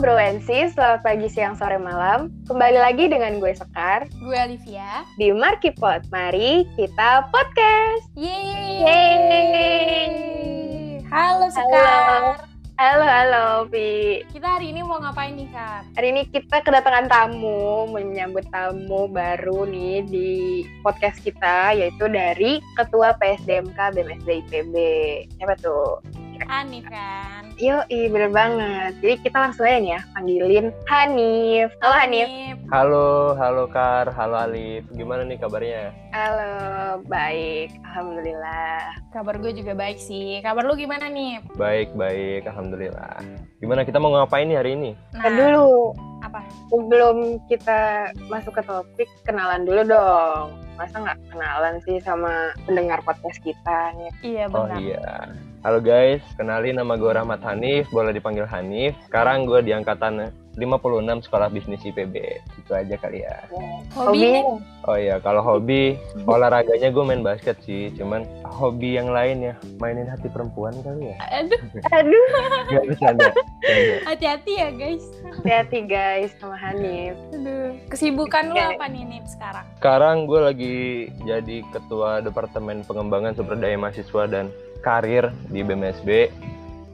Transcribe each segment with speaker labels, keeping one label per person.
Speaker 1: Bro and Sis, selamat pagi, siang, sore, malam. Kembali lagi dengan gue Sekar
Speaker 2: Gue Olivia.
Speaker 1: di Markipod. Mari kita podcast.
Speaker 2: Yeay.
Speaker 1: Yeay. Halo.
Speaker 2: Halo Sekar.
Speaker 1: Halo, halo, Pi.
Speaker 2: Kita hari ini mau ngapain nih Kak?
Speaker 1: Hari ini kita kedatangan tamu, menyambut tamu baru nih di podcast kita, yaitu dari Ketua PSDMK BMSD IPB. Siapa tuh?
Speaker 2: Hanif kan.
Speaker 1: Yoi, bener banget. Jadi kita langsung aja nih ya, panggilin Hanif. Halo Hanif.
Speaker 3: Halo, halo Kar, halo Alif. Gimana nih kabarnya?
Speaker 1: Halo, baik. Alhamdulillah.
Speaker 2: Kabar gue juga baik sih. Kabar lu gimana nih?
Speaker 3: Baik, baik, alhamdulillah. Gimana kita mau ngapain nih hari ini?
Speaker 2: Nah,
Speaker 1: Ntar Kan dulu,
Speaker 2: apa?
Speaker 1: sebelum kita masuk ke topik, kenalan dulu dong. Masa nggak kenalan sih sama pendengar podcast kita gitu. nih?
Speaker 2: Iya
Speaker 3: Oh
Speaker 2: benar.
Speaker 3: iya. Halo guys, kenalin nama gue Rahmat Hanif, boleh dipanggil Hanif. Sekarang gue di angkatan 56 Sekolah Bisnis IPB. Itu aja kali ya.
Speaker 2: Hobinya?
Speaker 3: Oh iya, kalau hobi olahraganya gue main basket sih, cuman hobi yang lain ya, mainin hati perempuan kali ya.
Speaker 2: Aduh,
Speaker 1: Aduh,
Speaker 3: Gak bercanda. bercanda.
Speaker 2: hati-hati ya guys.
Speaker 1: hati-hati guys sama Hanif.
Speaker 2: Aduh. Kesibukan lu
Speaker 1: Oke.
Speaker 2: apa nih Nip sekarang?
Speaker 3: Sekarang gue lagi jadi ketua Departemen Pengembangan Sumber Daya Mahasiswa dan Karir di BMSB.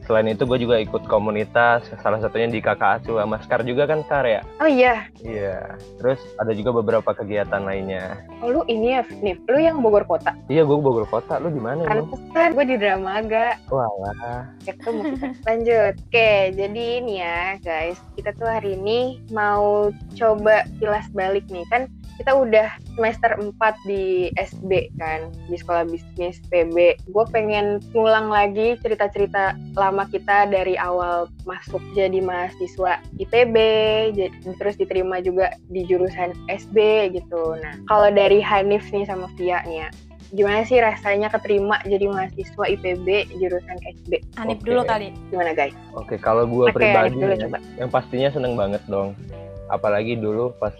Speaker 3: Selain itu gue juga ikut komunitas, salah satunya di KKA Suwa Maskar juga kan Kar ya?
Speaker 1: Oh iya,
Speaker 3: Iya. Terus ada juga beberapa kegiatan lainnya.
Speaker 1: oh, lu ini ya, Hanif. Lu yang Bogor Kota.
Speaker 3: Iya, gue Bogor Kota. Lu di mana
Speaker 1: Kan
Speaker 3: emang?
Speaker 1: gue di Dramaga.
Speaker 3: Walah.
Speaker 1: Ketemu kita. Lanjut. Oke, jadi ini ya guys. Kita tuh hari ini mau coba kilas balik nih. Kan kita udah semester 4 di SB kan di sekolah bisnis PB gue pengen ngulang lagi cerita-cerita lama kita dari awal masuk jadi mahasiswa IPB jadi- terus diterima juga di jurusan SB gitu nah kalau dari Hanif nih sama Via nih ya, gimana sih rasanya keterima jadi mahasiswa IPB jurusan SB
Speaker 2: Hanif
Speaker 3: Oke.
Speaker 2: dulu kali.
Speaker 1: gimana guys?
Speaker 3: Oke, kalau gue
Speaker 1: Oke, Hanif
Speaker 3: pribadi
Speaker 1: dulu
Speaker 3: ya,
Speaker 1: coba.
Speaker 3: yang pastinya seneng banget dong. Apalagi dulu pas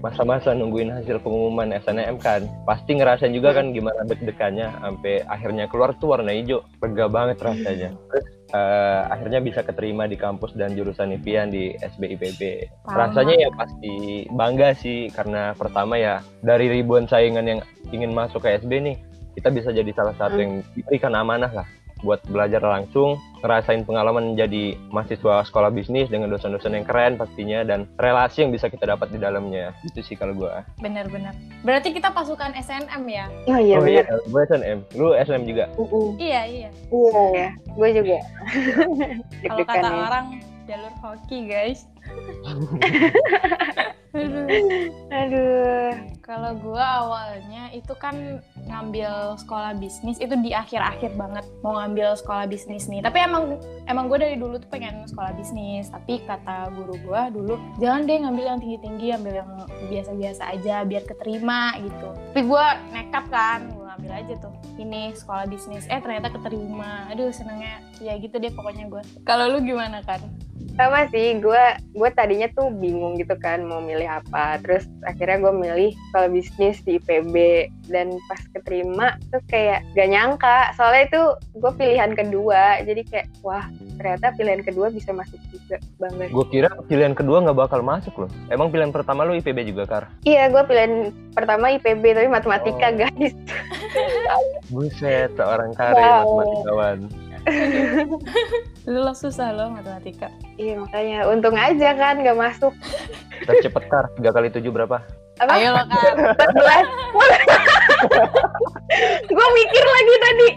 Speaker 3: masa-masa nungguin hasil pengumuman SNM kan, pasti ngerasain juga kan gimana deg-degannya sampai akhirnya keluar tuh warna hijau, lega banget rasanya. Terus eh, akhirnya bisa keterima di kampus dan jurusan impian di SBIPB.
Speaker 2: Parah.
Speaker 3: Rasanya ya pasti bangga sih karena pertama ya dari ribuan saingan yang ingin masuk ke SB nih, kita bisa jadi salah
Speaker 1: Hmm.
Speaker 3: satu yang diberikan amanah lah buat belajar langsung, ngerasain pengalaman jadi mahasiswa sekolah bisnis dengan dosen-dosen yang keren pastinya dan relasi yang bisa kita dapat di dalamnya. Itu sih kalau gua.
Speaker 2: Bener-bener. Berarti kita pasukan SNM ya?
Speaker 1: oh iya
Speaker 3: oh
Speaker 1: bener.
Speaker 3: iya, gua SNM. Lu SNM juga.
Speaker 1: Mm-mm.
Speaker 2: Iya, iya.
Speaker 1: iya gue juga
Speaker 2: Kalau
Speaker 1: Deg-degan ya.
Speaker 2: kata
Speaker 1: nih.
Speaker 2: orang jalur hoki guys. Aduh.
Speaker 1: aduh
Speaker 2: Kalau gua awalnya itu kan ngambil sekolah bisnis itu di akhir-akhir banget mau ngambil sekolah bisnis nih. Tapi emang emang gue dari dulu tuh pengen sekolah bisnis. Tapi kata guru gua dulu jangan deh ngambil yang tinggi-tinggi, ambil yang biasa-biasa aja biar keterima gitu. Tapi gua nekat kan, gua ngambil aja tuh ini sekolah bisnis. Eh ternyata keterima. Aduh senengnya ya gitu deh pokoknya gua. Kalau lu gimana kan?
Speaker 1: sama sih gue gue tadinya tuh bingung gitu kan mau milih apa terus akhirnya gue milih kalau bisnis di IPB dan pas keterima tuh kayak gak nyangka soalnya itu gue pilihan kedua jadi kayak wah ternyata pilihan kedua bisa masuk juga bangga
Speaker 3: Gua kira pilihan kedua nggak bakal masuk loh. Emang pilihan pertama lu IPB juga, Kar?
Speaker 1: iya gue pilihan pertama IPB tapi matematika
Speaker 3: Oh.
Speaker 1: guys
Speaker 3: Buset, seorang Kar
Speaker 1: Wow.
Speaker 3: ya, matematikawan.
Speaker 2: Lu lah susah loh matematika.
Speaker 1: iya makanya untung aja kan gak masuk
Speaker 3: Tercepet, Kar. 3 kali 7 berapa?
Speaker 1: apa
Speaker 2: Ayo lo kan.
Speaker 1: 14 gue mikir lagi tadi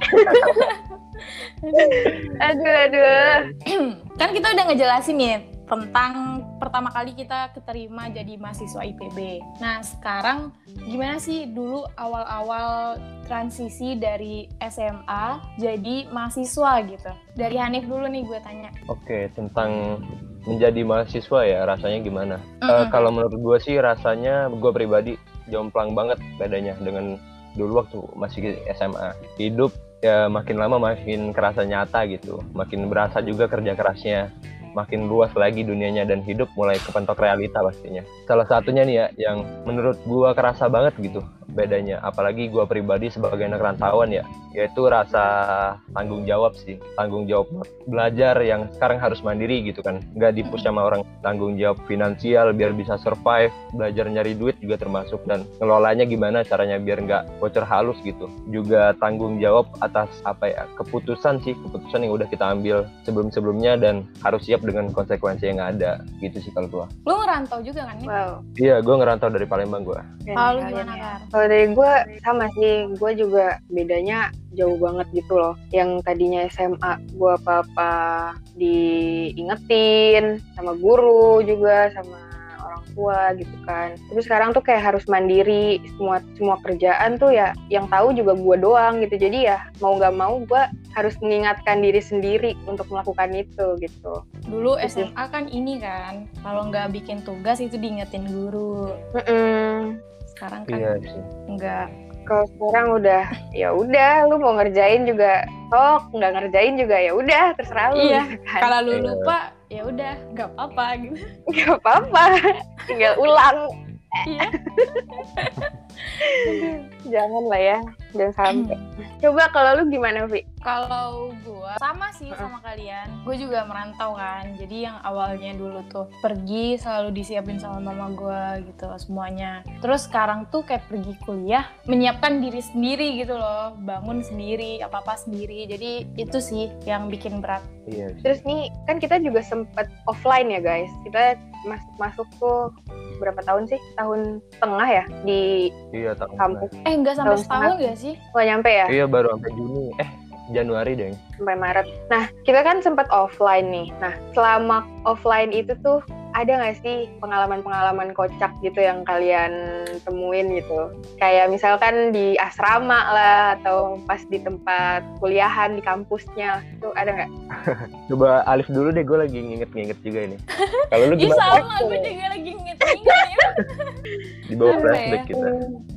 Speaker 1: aduh aduh
Speaker 2: kan kita udah ngejelasin ya tentang pertama kali kita keterima jadi mahasiswa IPB. Nah sekarang gimana sih dulu awal-awal transisi dari SMA jadi mahasiswa gitu? Dari Hanif dulu nih gue tanya.
Speaker 3: Oke, tentang menjadi mahasiswa ya, rasanya gimana? Eh,
Speaker 2: Mm-mm.
Speaker 3: kalau menurut gue sih rasanya gue pribadi jomplang banget bedanya dengan dulu waktu masih SMA. Hidup ya makin lama makin kerasa nyata gitu, makin berasa juga kerja kerasnya, makin luas lagi dunianya dan hidup mulai kepentok realita pastinya. Salah satunya nih ya yang menurut gua kerasa banget gitu bedanya apalagi gua pribadi sebagai anak rantauan ya yaitu rasa tanggung jawab sih tanggung jawab belajar yang sekarang harus mandiri gitu kan nggak dipus sama orang tanggung jawab finansial biar bisa survive belajar nyari duit juga termasuk dan ngelolanya gimana caranya biar nggak bocor halus gitu juga tanggung jawab atas apa ya keputusan sih keputusan yang udah kita ambil sebelum-sebelumnya dan harus siap dengan konsekuensi yang ada gitu sih kalau gua
Speaker 2: Lu ngerantau juga kan nih?
Speaker 1: Wow.
Speaker 3: iya gua ngerantau dari Palembang gua
Speaker 1: keren
Speaker 2: Kalau lu
Speaker 1: kalian
Speaker 2: gimana
Speaker 1: ya.
Speaker 2: Kar?
Speaker 1: Kalau dari gue sama sih, gue juga bedanya jauh banget gitu loh. Yang tadinya SMA gue apa-apa diingetin sama guru juga sama orang tua gitu kan. Tapi sekarang tuh kayak harus mandiri semua semua kerjaan tuh ya yang tahu juga gue doang gitu. Jadi ya mau nggak mau gue harus mengingatkan diri sendiri untuk melakukan itu gitu.
Speaker 2: Dulu
Speaker 1: Iya sih.
Speaker 2: SMA kan ini kan, kalau nggak bikin tugas itu diingetin guru.
Speaker 1: Mm-mm.
Speaker 2: Sekarang kan
Speaker 3: iya sih
Speaker 2: nggak.
Speaker 1: Kalau sekarang udah ya udah, lu mau ngerjain juga sok, nggak ngerjain juga ya udah terserah lu.
Speaker 2: Iya.
Speaker 1: gitu kan.
Speaker 2: Kalau lu
Speaker 3: Iya.
Speaker 2: lupa, ya udah nggak apa-apa gitu.
Speaker 1: Gak apa-apa, tinggal ulang.
Speaker 2: Iya.
Speaker 1: Jangan lah ya, jangan sampai. Coba kalau lu gimana, Vi?
Speaker 2: Kalau gua sama sih sama kalian. Gue juga merantau kan. Jadi yang awalnya dulu tuh pergi selalu disiapin sama mama gua gitu semuanya. Terus sekarang tuh kayak pergi kuliah menyiapkan diri sendiri gitu loh, bangun sendiri, apa-apa sendiri. Jadi itu sih yang bikin berat.
Speaker 3: iya sih.
Speaker 1: Terus nih, kan kita juga sempet offline ya guys. Kita mas masuk tuh berapa tahun sih? Tahun setengah ya di
Speaker 3: iya tahun
Speaker 1: kampus.
Speaker 2: Eh nggak sampai
Speaker 1: Tahun
Speaker 2: setahun gak sih?
Speaker 1: Gak nyampe ya?
Speaker 3: Iya baru sampai Juni. Eh Januari deh.
Speaker 1: sampai Maret. Nah, kita kan sempat offline nih. Nah, selama offline itu tuh ada nggak sih pengalaman-pengalaman kocak gitu yang kalian temuin gitu? Kayak misalkan di asrama lah atau pas di tempat kuliahan di kampusnya itu ada nggak?
Speaker 3: Coba Alif dulu deh, gue lagi nginget-nginget juga ini. Kalau lu
Speaker 2: Ih
Speaker 3: gimana?
Speaker 2: sama, gue juga lagi ya. nginget-nginget.
Speaker 3: Di bawah
Speaker 2: Apa ya?
Speaker 3: flashback kita.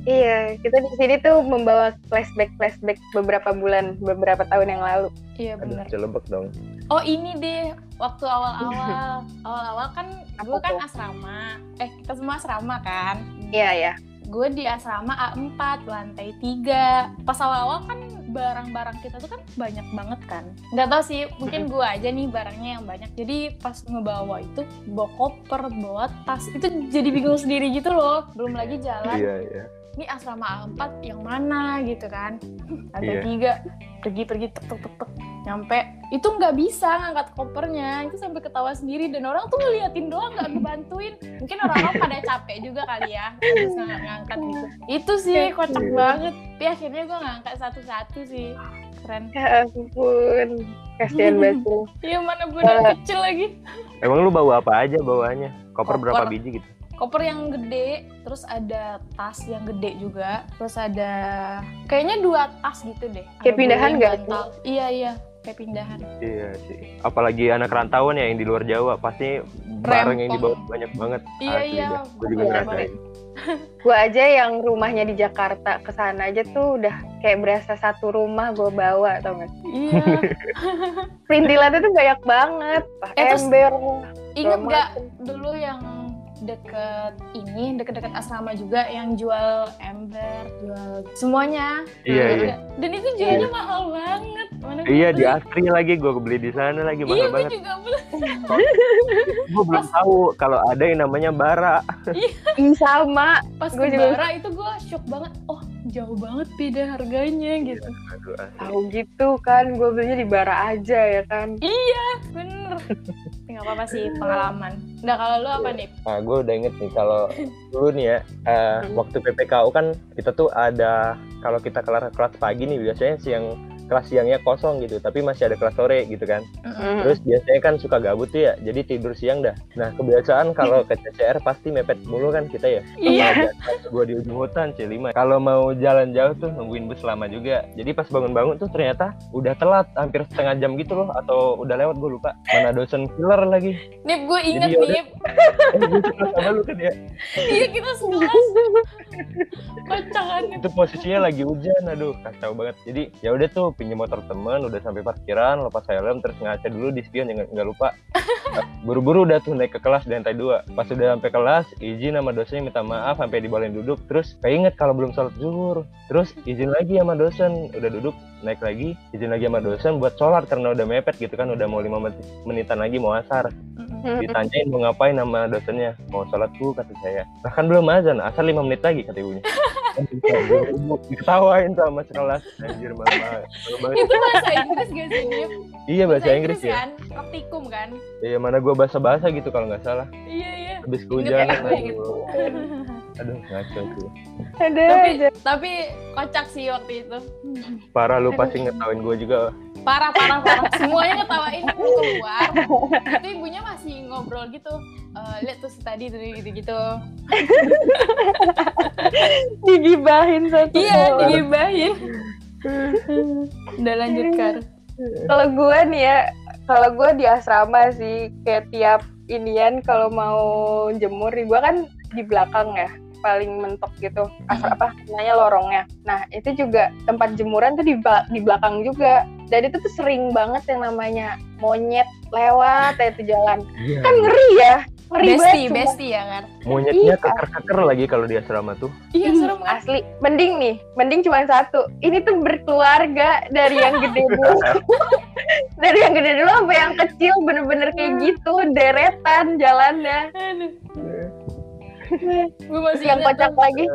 Speaker 1: Iya, kita di sini tuh membawa flashback-flashback beberapa bulan, beberapa tahun yang lalu.
Speaker 2: Iya
Speaker 3: Aduh,
Speaker 2: bener.
Speaker 3: celebek dong.
Speaker 2: Oh ini deh waktu awal-awal awal-awal kan gue
Speaker 1: Apa
Speaker 2: kan
Speaker 1: tuh?
Speaker 2: asrama eh kita semua asrama kan
Speaker 1: Iya ya.
Speaker 2: gue di asrama A4 lantai 3 pas awal-awal kan barang-barang kita tuh kan banyak banget kan nggak tahu sih mungkin gue aja nih barangnya yang banyak jadi pas ngebawa itu bawa koper bawa tas itu jadi bingung sendiri gitu loh belum lagi jalan
Speaker 3: Iya iya.
Speaker 2: ini asrama A4 yang mana gitu kan ada
Speaker 3: Iya.
Speaker 2: tiga pergi-pergi tek tek tek tek nyampe itu nggak bisa ngangkat kopernya itu sampai ketawa sendiri dan orang tuh ngeliatin doang nggak ngebantuin mungkin orang-orang pada capek juga kali ya terus nggak ngangkat gitu itu sih kocak
Speaker 3: Iya.
Speaker 2: banget tapi akhirnya gue ngangkat satu-satu sih keren
Speaker 1: Ya ampun, kasihan banget. lu.
Speaker 2: iya mana
Speaker 3: Eh.
Speaker 2: budak kecil lagi
Speaker 3: Emang lu bawa apa aja bawaannya?
Speaker 2: Oh, Koper.
Speaker 3: Koper, berapa biji gitu?
Speaker 2: koper yang gede, terus ada tas yang gede juga, terus ada kayaknya dua tas gitu deh.
Speaker 1: Kayak
Speaker 2: Ada
Speaker 1: pindahan
Speaker 2: guling,
Speaker 1: nggak
Speaker 2: bantal. Iya iya, kayak pindahan.
Speaker 3: Iya sih. Apalagi anak rantauan ya yang di luar Jawa, pasti barang yang dibawa banyak banget.
Speaker 2: Iya
Speaker 3: Asli
Speaker 2: iya.
Speaker 3: dah. Gue juga
Speaker 1: Iya,
Speaker 3: ngerasain.
Speaker 1: Gua aja yang rumahnya di Jakarta ke sana aja tuh udah kayak berasa satu rumah gue bawa tau gak?
Speaker 2: Iya.
Speaker 1: Perintilannya tuh banyak banget, Pak
Speaker 2: Eh, terus-
Speaker 1: ember.
Speaker 2: Ingat
Speaker 1: segala
Speaker 2: nggak
Speaker 1: macem.
Speaker 2: dulu yang deket ini deket-deket asrama juga yang jual ember jual semuanya
Speaker 3: Iya
Speaker 2: Ingat
Speaker 3: iya.
Speaker 2: nggak? dan itu jualnya mahal banget Mana gua
Speaker 3: Iya
Speaker 2: beli.
Speaker 3: di Asri lagi, gue beli di sana lagi
Speaker 2: iya
Speaker 3: mahal
Speaker 2: gue
Speaker 3: banget.
Speaker 2: juga beli
Speaker 3: Gue belum tahu kalau ada yang namanya bara.
Speaker 1: Ih sama,
Speaker 2: pas
Speaker 1: Gua
Speaker 2: ke
Speaker 1: juga.
Speaker 2: Bara itu gue shock banget oh jauh banget beda harganya gitu
Speaker 3: Aduh, asli.
Speaker 1: tahu gitu kan, gue belinya di bara aja ya kan.
Speaker 2: Iya, bener Ya, nggak apa-apa sih pengalaman nah kalau lu apa nih
Speaker 3: Nah, gue udah inget nih kalau dulu nih ya, eh,
Speaker 1: Hmm.
Speaker 3: waktu PPKU kan kita tuh ada kalau kita kelar kelas pagi nih biasanya siang kelas siangnya kosong gitu, tapi masih ada kelas sore gitu kan.
Speaker 1: Hmm.
Speaker 3: Terus biasanya kan suka gabut tuh ya, jadi tidur siang dah. Nah kebiasaan kalau ke CCR pasti mepet mulu kan kita ya.
Speaker 2: iya
Speaker 3: Gue di ujung hutan C5. Kalau mau jalan jauh tuh nungguin bus lama juga. Jadi pas bangun-bangun tuh ternyata udah telat, hampir setengah jam gitu loh, atau udah lewat gue lupa. Mana dosen killer lagi.
Speaker 2: Nip gue inget
Speaker 3: Jadi,
Speaker 2: Nip
Speaker 3: Eh, gue suka sama lu kan ya.
Speaker 2: iya kita sekelas kocakan
Speaker 3: itu posisinya lagi hujan aduh kacau banget jadi ya udah tuh pinjam motor temen udah sampai parkiran lepas helm terus ngaca dulu di spion jangan nggak lupa Nah, buru-buru udah tuh naik ke kelas di lantai dua pas udah sampai kelas izin sama dosennya minta maaf sampai dibolehin duduk terus keinget kalau belum sholat zuhur terus izin lagi sama dosen udah duduk naik lagi izin lagi sama dosen buat sholat karena udah mepet gitu kan udah mau lima menit- menitan lagi mau asar
Speaker 2: Mm-mm.
Speaker 1: Mm-mm.
Speaker 3: ditanyain mau ngapain sama dosennya mau sholat bu kata saya bahkan belum azan asar lima menit lagi kata ibunya Ibu diketawain sama sekelas anjir mama Malu banget.
Speaker 2: itu bahasa Inggris gak sih Nif?
Speaker 3: iya bahasa Inggris ya
Speaker 2: kan praktikum kan
Speaker 3: iya mana gua bahasa bahasa gitu kalau nggak salah
Speaker 2: iya iya
Speaker 3: habis
Speaker 2: Ingat
Speaker 3: kehujanan
Speaker 2: ya,
Speaker 3: aduh aduh ngaco sih
Speaker 1: Ada
Speaker 2: tapi
Speaker 1: aja.
Speaker 2: tapi kocak sih waktu itu
Speaker 3: parah lu pasti ngetawain gua juga
Speaker 2: parah parah parah semuanya ngetawain aku keluar itu ibunya masih ngobrol gitu Eh, lihat tuh si tadi gitu gitu
Speaker 1: digibahin satu.
Speaker 2: iya
Speaker 1: doang.
Speaker 2: digibahin
Speaker 1: Hmm.
Speaker 2: udah lanjut Kar
Speaker 1: Kalau gue nih ya, kalau gue di asrama sih kayak tiap inian kalau mau jemur, gue kan di belakang ya paling mentok gitu asal
Speaker 2: Hmm.
Speaker 1: apa namanya lorongnya. Nah itu juga tempat jemuran tuh di ba- di belakang juga. Dan itu tuh sering banget yang namanya monyet lewat ya itu jalan.
Speaker 3: iya
Speaker 1: Kan ngeri ya, ngeri
Speaker 2: besti
Speaker 1: banget. sumpah.
Speaker 2: besti ya Kar
Speaker 3: monyetnya
Speaker 1: Iya.
Speaker 3: keker-keker lagi kalau di asrama tuh
Speaker 2: iya
Speaker 1: Ih,
Speaker 2: serem kan
Speaker 1: Asli, mending nih, mending cuma satu. Ini tuh berkeluarga dari yang gede dulu, dari yang gede dulu sampai yang kecil, bener-bener kayak gitu, deretan jalannya.
Speaker 2: gue masih
Speaker 1: Yang
Speaker 2: ingat
Speaker 1: kocak
Speaker 2: tuh.
Speaker 1: lagi,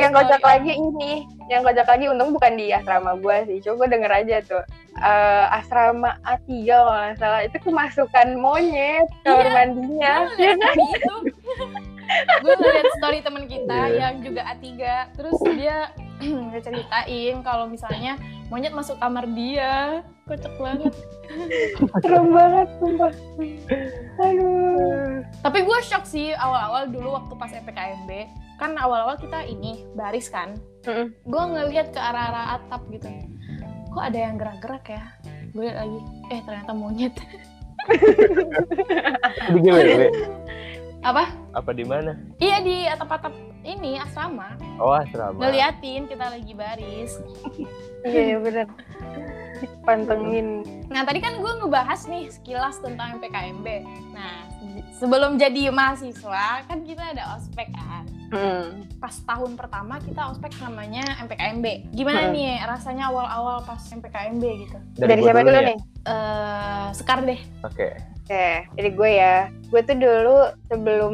Speaker 1: yang
Speaker 2: Sorry.
Speaker 1: kocak lagi ini, yang kocak lagi untung bukan di asrama gua sih, coba gua denger aja tuh. Eh, asrama A3 kalau nggak salah, itu kemasukan monyet, kamar
Speaker 2: Iya.
Speaker 1: mandinya.
Speaker 2: gue ngeliat itu gue ngeliat story temen kita
Speaker 3: Iya.
Speaker 2: yang juga A3 terus dia dia ceritain kalau misalnya monyet masuk kamar dia kocak banget
Speaker 1: Serem banget, sumpah. Aduh.
Speaker 2: tapi gue shock sih awal-awal dulu waktu pas E PKMB kan awal-awal kita ini baris kan
Speaker 1: Mm-mm.
Speaker 2: gue ngeliat ke arah-arah atap gitu kok ada yang gerak-gerak ya gue liat lagi eh ternyata monyet
Speaker 3: di GWW
Speaker 2: Apa?
Speaker 3: apa di mana
Speaker 2: iya di atap-atap ini asrama
Speaker 3: oh asrama
Speaker 2: ngeliatin kita lagi baris
Speaker 1: Iya, iya, bener. Pantengin.
Speaker 2: Nah, tadi kan gue ngebahas nih sekilas tentang PKMB. Nah, se- sebelum jadi mahasiswa, kan kita ada ospek kan.
Speaker 1: Hmm.
Speaker 2: Pas tahun pertama kita ospek namanya MPKMB. Gimana
Speaker 1: Hmm.
Speaker 2: nih rasanya awal-awal pas MPKMB gitu?
Speaker 1: Dari,
Speaker 3: gua
Speaker 1: siapa dulu
Speaker 3: ya?
Speaker 1: nih?
Speaker 2: eh Sekar deh.
Speaker 3: oke
Speaker 1: Oke, jadi gue ya, gue tuh dulu sebelum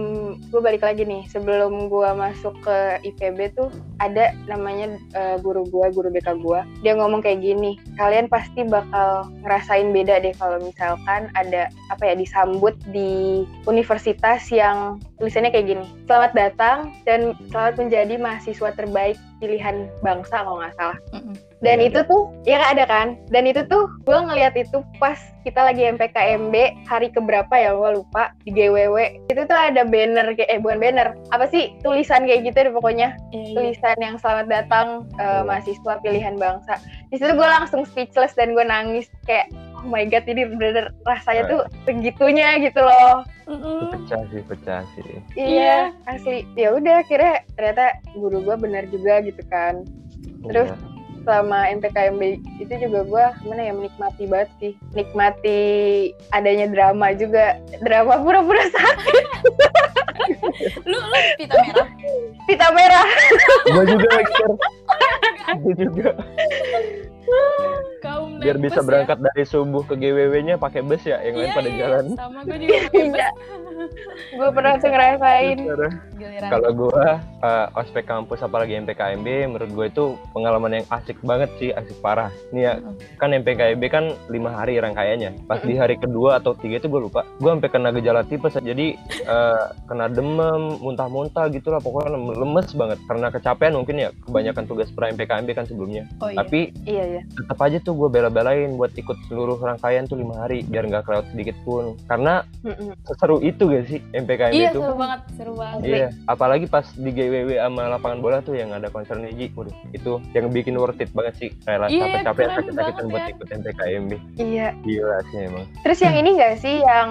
Speaker 1: gue balik lagi nih, sebelum gue masuk ke IPB tuh ada namanya eh, guru gue, guru BK gue, dia ngomong kayak gini, kalian pasti bakal ngerasain beda deh kalau misalkan ada apa ya disambut di universitas yang tulisannya kayak gini, selamat datang dan selamat menjadi mahasiswa terbaik pilihan bangsa kalau nggak salah.
Speaker 2: Mm-mm.
Speaker 1: Dan
Speaker 3: Iya,
Speaker 1: itu tuh, ya kan ada kan? Dan itu tuh gue ngeliat itu pas kita lagi MPKMB hari keberapa ya gue lupa di GWW itu tuh ada banner kayak eh bukan banner apa sih tulisan kayak gitu deh pokoknya
Speaker 2: Iya, iya.
Speaker 1: tulisan yang selamat datang eh,
Speaker 3: Iya.
Speaker 1: mahasiswa pilihan bangsa di situ gue langsung speechless dan gue nangis kayak oh my god ini bener-bener rasanya
Speaker 3: Iya.
Speaker 1: tuh segitunya gitu loh
Speaker 2: Mm-mm.
Speaker 3: pecah sih pecah sih
Speaker 1: iya asli ya udah akhirnya ternyata guru gue bener juga gitu kan Terus?
Speaker 3: Iya.
Speaker 1: selama MPKMB itu juga gue gimana ya menikmati banget sih nikmati adanya drama juga drama pura-pura sakit
Speaker 2: Lu lu pita merah.
Speaker 1: pita merah
Speaker 3: gua juga lagi Ker. Gua juga
Speaker 2: Kaum naik
Speaker 3: biar
Speaker 2: bus
Speaker 3: bisa
Speaker 2: ya.
Speaker 3: berangkat dari subuh ke GWW-nya pakai bus ya yang lain
Speaker 2: Iya,
Speaker 3: pada
Speaker 2: iya.
Speaker 3: jalan
Speaker 2: Sama gue juga pakai bus.
Speaker 1: Iya. gue pernah tuh ngerasain
Speaker 3: Sekarang,
Speaker 2: Giliran.
Speaker 3: kalau gua eh, ospek kampus apalagi MPKMB menurut gue itu pengalaman yang asik banget sih asik parah nih ya
Speaker 2: Mm-mm.
Speaker 3: kan MPKMB kan lima hari rangkaiannya pas
Speaker 2: Hmm.
Speaker 3: di hari kedua atau tiga itu gue lupa gue sampai kena gejala tipes jadi eh, kena demam muntah-muntah gitulah pokoknya lemes banget karena kecapean mungkin ya kebanyakan tugas pra MPKMB kan sebelumnya
Speaker 2: Oh Hmm. iya.
Speaker 3: tapi
Speaker 1: iya iya
Speaker 3: tetap aja tuh gue bela bela-belain buat ikut seluruh rangkaian tuh lima hari biar nggak kelewat sedikit pun karena
Speaker 1: Mm-mm.
Speaker 3: seseru itu gak sih MPKM
Speaker 2: Iya
Speaker 3: itu kan
Speaker 2: seru banget, seru banget.
Speaker 3: Iya, apalagi pas di GWW sama lapangan bola tuh yang ada konser Niji, waduh, itu yang bikin worth it banget sih. Kayak
Speaker 2: Iya,
Speaker 3: capek-capek
Speaker 2: keren
Speaker 3: sakit-sakitan
Speaker 2: banget
Speaker 3: buat
Speaker 2: ya.
Speaker 3: ikut MPKM nih.
Speaker 1: Iya.
Speaker 3: Gila sih emang.
Speaker 1: Terus yang ini enggak sih yang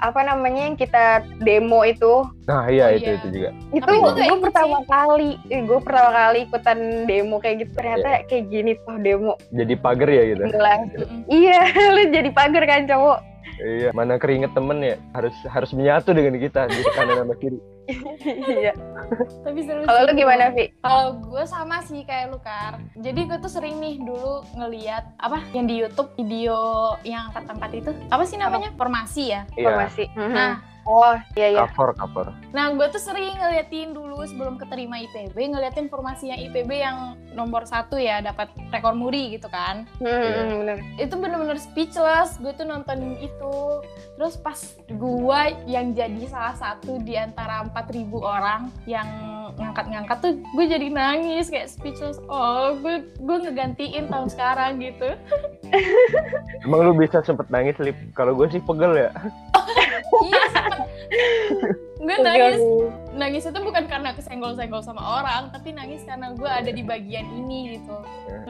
Speaker 1: apa namanya yang kita demo itu?
Speaker 3: Nah, iya
Speaker 2: Oh,
Speaker 3: itu
Speaker 2: iya.
Speaker 3: itu juga.
Speaker 1: Itu
Speaker 2: Tapi
Speaker 3: gua
Speaker 1: gue
Speaker 2: nggak ikut
Speaker 1: pertama kali, gue pertama kali ikutan demo kayak gitu. Ternyata kayak gini tuh demo.
Speaker 3: Jadi pagar ya gitu.
Speaker 1: Jelas.
Speaker 2: Mm-mm.
Speaker 1: Iya, lu jadi pagar kan cowok.
Speaker 3: Iya, mana keringet temen ya harus harus menyatu dengan kita di kanan sama kiri.
Speaker 1: Iya.
Speaker 2: Tapi seru.
Speaker 1: Kalau lu
Speaker 2: sih.
Speaker 1: gimana, Vi?
Speaker 2: Kalau gue sama sih kayak lu Kar. Jadi gue tuh sering nih dulu ngeliat apa yang di YouTube video yang angkat angkat itu apa sih namanya formasi ya.
Speaker 3: Iya,
Speaker 1: Formasi. Mhm.
Speaker 2: Nah
Speaker 1: Oh, iya iya.
Speaker 3: cover cover.
Speaker 2: Nah, gue tuh sering ngeliatin dulu sebelum keterima IPB, ngeliatin formasinya IPB yang nomor satu ya, dapat rekor muri gitu kan.
Speaker 1: Mhm, bener.
Speaker 2: Itu bener-bener speechless, gue tuh nonton itu. Terus pas gue yang jadi salah satu di antara 4.000 orang yang ngangkat-ngangkat tuh gue jadi nangis kayak speechless. Oh, gue, gue ngegantiin tahun sekarang gitu.
Speaker 3: Emang lu bisa sempet nangis lip? Kalau gue sih pegel ya.
Speaker 2: iya, sempet. gue nangis nangis itu bukan karena kesenggol-senggol sama orang, tapi nangis karena gue ada di bagian ini gitu.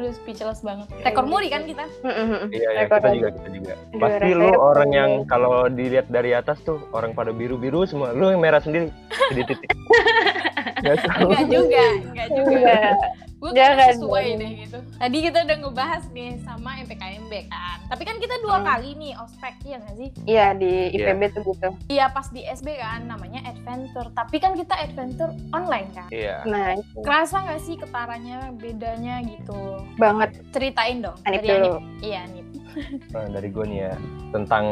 Speaker 2: Aduh, speechless banget. Rekor muri kan kita?
Speaker 1: Mhm.
Speaker 3: Iya, ya,
Speaker 1: Rekor.
Speaker 3: kita juga kita juga.
Speaker 1: Aduh,
Speaker 3: Pasti lu
Speaker 1: rasanya
Speaker 3: orang
Speaker 1: pegel.
Speaker 3: yang kalau dilihat dari atas tuh orang pada biru-biru semua. Lu yang merah sendiri di titik. Gak tahu.
Speaker 2: Enggak juga, enggak juga.
Speaker 1: Iya.
Speaker 2: Gue kayaknya
Speaker 1: Jangan
Speaker 2: sesuai
Speaker 1: dong.
Speaker 2: deh gitu. Tadi kita udah ngebahas nih sama MPKMB kan. Tapi kan kita dua
Speaker 1: Hmm.
Speaker 2: kali nih ospek, iya nggak sih?
Speaker 1: Iya, di IPB tuh gitu.
Speaker 2: Iya pas di SB kan namanya adventure. Tapi kan kita adventure online kan.
Speaker 3: Iya.
Speaker 1: Nah,
Speaker 2: Kerasa nggak sih ketaranya bedanya gitu?
Speaker 1: banget kan
Speaker 2: Ceritain dong.
Speaker 1: Anip
Speaker 2: dari
Speaker 1: dulu.
Speaker 2: Iya Anip.
Speaker 3: Nah, dari gue nih ya tentang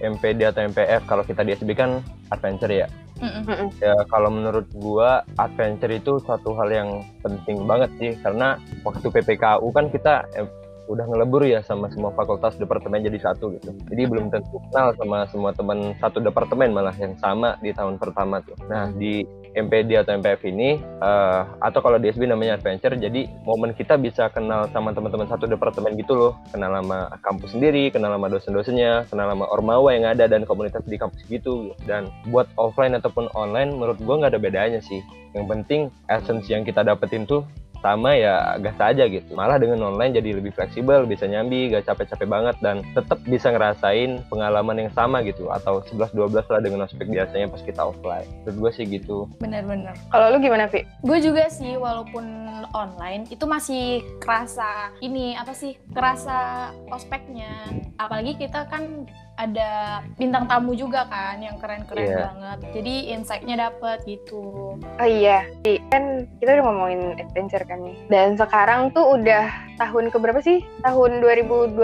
Speaker 3: MPD atau MPF kalau kita di SB kan adventure ya.
Speaker 2: Mm-mm.
Speaker 1: Hmm,
Speaker 3: ya kalau menurut gua adventure itu satu hal yang penting banget sih karena waktu PPKU kan kita eh, udah ngelebur ya sama semua fakultas departemen jadi satu gitu jadi belum tentu kenal sama semua teman satu departemen malah yang sama di tahun pertama tuh nah di MPD atau MPF ini eh, atau kalau di SB namanya adventure jadi momen kita bisa kenal sama teman-teman satu departemen gitu loh kenal sama kampus sendiri kenal sama dosen-dosennya kenal sama ormawa yang ada dan komunitas di kampus gitu dan buat offline ataupun online menurut gua nggak ada bedanya sih yang penting essence yang kita dapetin tuh sama ya gas aja gitu malah dengan online jadi lebih fleksibel bisa nyambi gak capek-capek banget dan tetap bisa ngerasain pengalaman yang sama gitu atau 11-12 lah dengan ospek biasanya pas kita offline menurut gue sih gitu
Speaker 2: Bener-bener.
Speaker 1: Kalau lu gimana, Vi?
Speaker 2: Gue juga sih walaupun online itu masih kerasa ini apa sih kerasa ospeknya apalagi kita kan ada bintang tamu juga kan yang keren-keren
Speaker 3: Iya.
Speaker 2: banget jadi insight-nya dapet gitu
Speaker 1: Oh iya, Vi. Kan kita udah ngomongin adventure kan nih. Dan sekarang tuh udah tahun keberapa sih? Tahun 2021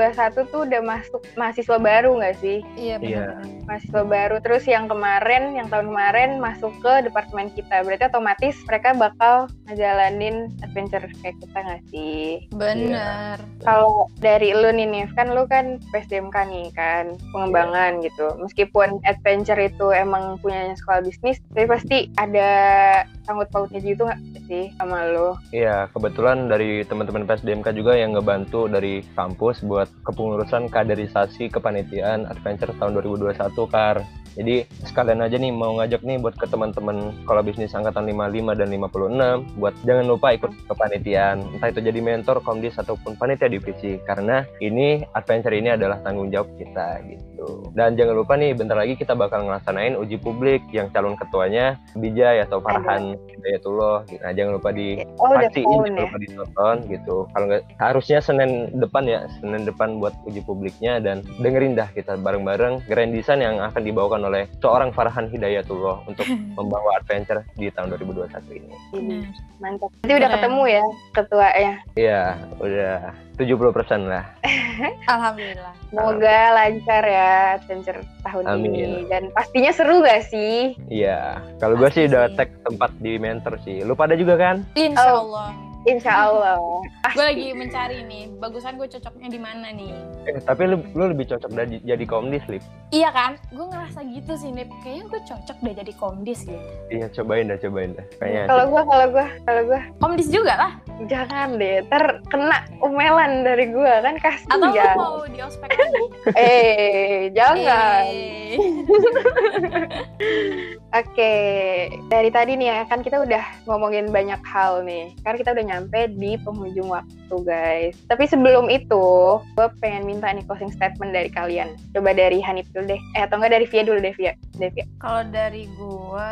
Speaker 1: tuh udah masuk mahasiswa baru nggak sih?
Speaker 2: iya benar
Speaker 1: Mahasiswa baru. Terus yang kemarin, yang tahun kemarin masuk ke departemen kita. Berarti otomatis mereka bakal ngejalanin adventure kayak kita nggak sih?
Speaker 2: benar
Speaker 1: Kalau dari lu nih Nif, kan lu kan PSDMK nih kan,
Speaker 3: Iya.
Speaker 1: pengembangan gitu. Meskipun adventure itu emang punyanya sekolah bisnis, tapi pasti ada sangkut pautnya gitu nggak sih sama lu?
Speaker 3: Iya, kebetulan dari teman-teman PSDMK juga yang ngebantu dari kampus buat kepengurusan kaderisasi kepanitiaan Adventure tahun 2021, Kar. Jadi sekalian aja nih mau ngajak nih buat ke teman-teman sekolah bisnis angkatan 55 dan 56 buat jangan lupa ikut kepanitiaan entah itu jadi mentor, komdis ataupun panitia divisi karena ini adventure ini adalah tanggung jawab kita gitu. Dan jangan lupa nih bentar lagi kita bakal ngelaksanain uji publik yang calon ketuanya Bijay atau Farhan Hidayatullah. Nah, jangan lupa di
Speaker 1: Oh udah
Speaker 3: pastiin
Speaker 1: tahun
Speaker 3: jangan
Speaker 1: ya?
Speaker 3: lupa ditonton gitu kalau nggak harusnya senin depan ya senin depan buat uji publiknya dan dengerin dah kita bareng-bareng grand design yang akan dibawakan oleh seorang Farhan Hidayatullah untuk membawa adventure di tahun 2021 ini
Speaker 1: Ini,
Speaker 2: Benar.
Speaker 1: Iya.
Speaker 2: Iya.
Speaker 1: Mantap. Jadi udah
Speaker 2: Keren.
Speaker 1: ketemu ya ketuanya.
Speaker 3: iya udah 70% lah
Speaker 2: alhamdulillah
Speaker 1: Semoga lancar ya adventure tahun
Speaker 3: Amin.
Speaker 1: ini. Dan pastinya seru gak sih?
Speaker 3: iya kalau gue sih
Speaker 2: Pasti
Speaker 3: udah
Speaker 2: sih.
Speaker 3: tag tempat di mentor sih lu pada juga kan
Speaker 2: Oh. insya Allah
Speaker 1: Insya
Speaker 3: Hmm,
Speaker 1: Allah.
Speaker 2: Gue lagi mencari nih, bagusan gue cocoknya di mana nih?
Speaker 3: Eh, tapi lu, lu lebih cocok dari, jadi komdis, Lip.
Speaker 2: Iya kan? Gue ngerasa gitu sih, Nip. Kayaknya gue cocok deh jadi komdis gitu.
Speaker 3: Iya, cobain dah, cobain dah. Kayaknya
Speaker 1: Kalau gua, kalau gua, kalau gua
Speaker 2: Komdis juga lah.
Speaker 1: jangan deh, ter kena umelan dari gua kan
Speaker 2: Atau lu
Speaker 1: kasihan.
Speaker 2: mau di ospek lagi?
Speaker 1: Eh, jangan.
Speaker 2: Eh.
Speaker 1: Oke, dari tadi nih ya, kan kita udah ngomongin banyak hal nih. Karena kita udah nyampe di penghujung waktu, guys. Tapi sebelum itu, gue pengen minta nih closing statement dari kalian. Coba dari Hanif dulu deh. Eh, atau enggak dari Via dulu deh, Via. Dari Via.
Speaker 2: Kalau dari gua,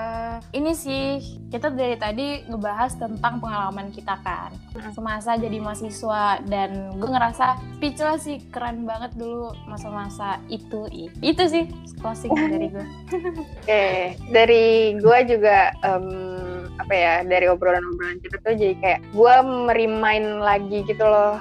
Speaker 2: ini sih kita dari tadi ngebahas tentang pengalaman kita kan.
Speaker 1: Mm.
Speaker 2: Semasa jadi mahasiswa dan gua ngerasa speechless sih keren banget dulu masa-masa itu. ih. Itu sih closing dari gua.
Speaker 1: Oke, dari gue juga em, apa ya dari obrolan-obrolan kita tuh jadi kayak gue merimain lagi gitu loh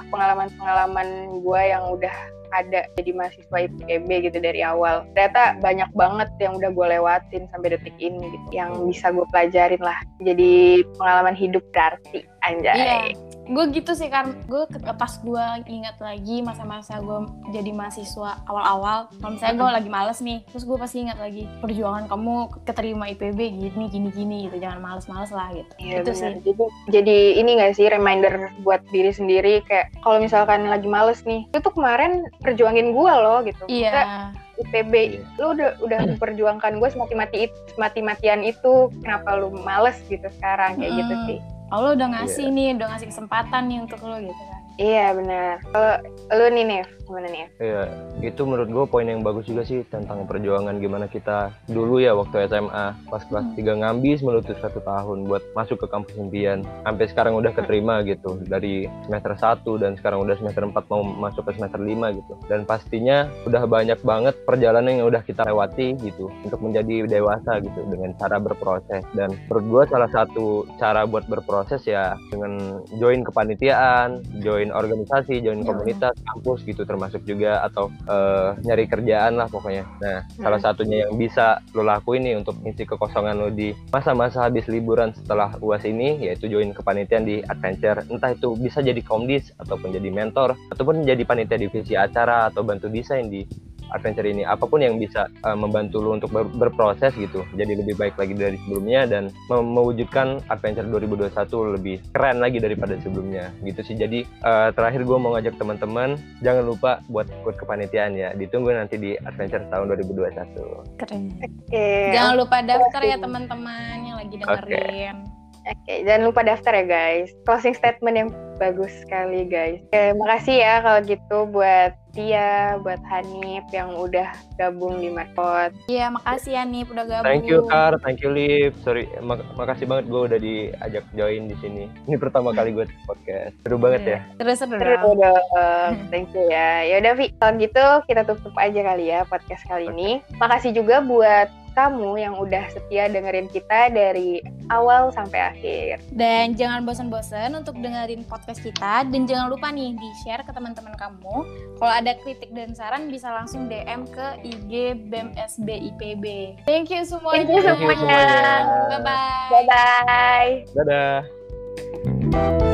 Speaker 1: pengalaman-pengalaman gue yang udah ada jadi mahasiswa IPB gitu dari awal ternyata banyak banget yang udah gue lewatin sampai detik ini gitu yang bisa gue pelajarin lah jadi pengalaman hidup berarti anjay
Speaker 2: Iya. Gue gitu sih kan, gue pas gue ingat lagi masa-masa gue jadi mahasiswa awal-awal Kalau misalnya gue lagi males nih, terus gue pasti ingat lagi Perjuangan kamu keterima IPB gini, gini, gini gitu, jangan males-males lah gitu
Speaker 1: Iya,
Speaker 2: Itu
Speaker 1: benar.
Speaker 2: sih
Speaker 1: Jadi, jadi ini gak sih reminder buat diri sendiri kayak kalau misalkan lagi males nih, itu tuh kemarin perjuangin gue loh gitu.
Speaker 2: Iya
Speaker 1: Kita IPB
Speaker 3: Iya.
Speaker 1: lu udah udah memperjuangkan gue semati mati mati matian itu kenapa lu males gitu sekarang kayak gitu
Speaker 2: Mm.
Speaker 1: sih
Speaker 2: Allah udah
Speaker 3: Iya.
Speaker 2: ngasih nih, udah ngasih kesempatan nih untuk lo gitu kan.
Speaker 1: iya benar kalau lu nih Nif gimana nih
Speaker 3: Iya, itu menurut gue poin yang bagus juga sih tentang perjuangan gimana kita dulu ya waktu SMA pas
Speaker 2: Hmm.
Speaker 3: kelas 3 ngambis melutut satu tahun buat masuk ke kampus impian sampai sekarang udah keterima gitu dari semester 1 dan sekarang udah semester 4 mau masuk ke semester 5 gitu dan pastinya udah banyak banget perjalanan yang udah kita lewati gitu untuk menjadi dewasa gitu dengan cara berproses dan menurut gue salah satu cara buat berproses ya dengan join kepanitiaan join organisasi join
Speaker 2: Iya.
Speaker 3: komunitas universitas, kampus gitu termasuk juga atau eh, nyari kerjaan lah pokoknya. Nah, salah satunya yang bisa lo lakuin nih untuk ngisi kekosongan lo di masa-masa habis liburan setelah UAS ini yaitu join kepanitiaan di adventure. Entah itu bisa jadi komdis ataupun jadi mentor ataupun jadi panitia divisi acara atau bantu desain di adventure ini apapun yang bisa eh, membantu lo untuk ber- berproses gitu jadi lebih baik lagi dari sebelumnya dan me- mewujudkan adventure 2021 lebih keren lagi daripada sebelumnya gitu sih jadi eh, terakhir gue mau ngajak teman-teman jangan lupa buat ikut kepanitiaan ya ditunggu nanti di adventure tahun 2021
Speaker 2: Keren.
Speaker 3: Iya.
Speaker 1: oke
Speaker 2: Jangan lupa daftar ya teman-teman yang lagi dengerin.
Speaker 1: oke jangan lupa daftar ya guys closing statement yang bagus sekali guys oke, makasih ya kalau gitu buat Tia buat Hanif yang udah gabung di Markot
Speaker 2: Iya, makasih ya nih udah gabung.
Speaker 3: thank you Kar thank you Liv sorry mak- makasih banget gue udah diajak join di sini ini pertama kali gue podcast seru banget ya
Speaker 2: Terus seru
Speaker 1: Seru
Speaker 2: dong.
Speaker 1: dong. Thank you ya. Yaudah Vi, kalau gitu kita tutup aja kali ya podcast kali ini. Makasih juga buat kamu yang udah setia dengerin kita dari awal sampai akhir.
Speaker 2: Dan jangan bosan-bosan untuk dengerin podcast kita dan jangan lupa nih di-share ke teman-teman kamu. Kalau ada kritik dan saran bisa langsung DM ke IG BMSBIPB. Thank you semuanya.
Speaker 1: Thank you
Speaker 3: semuanya.
Speaker 2: Bye-bye.
Speaker 1: Bye-bye.
Speaker 3: dadah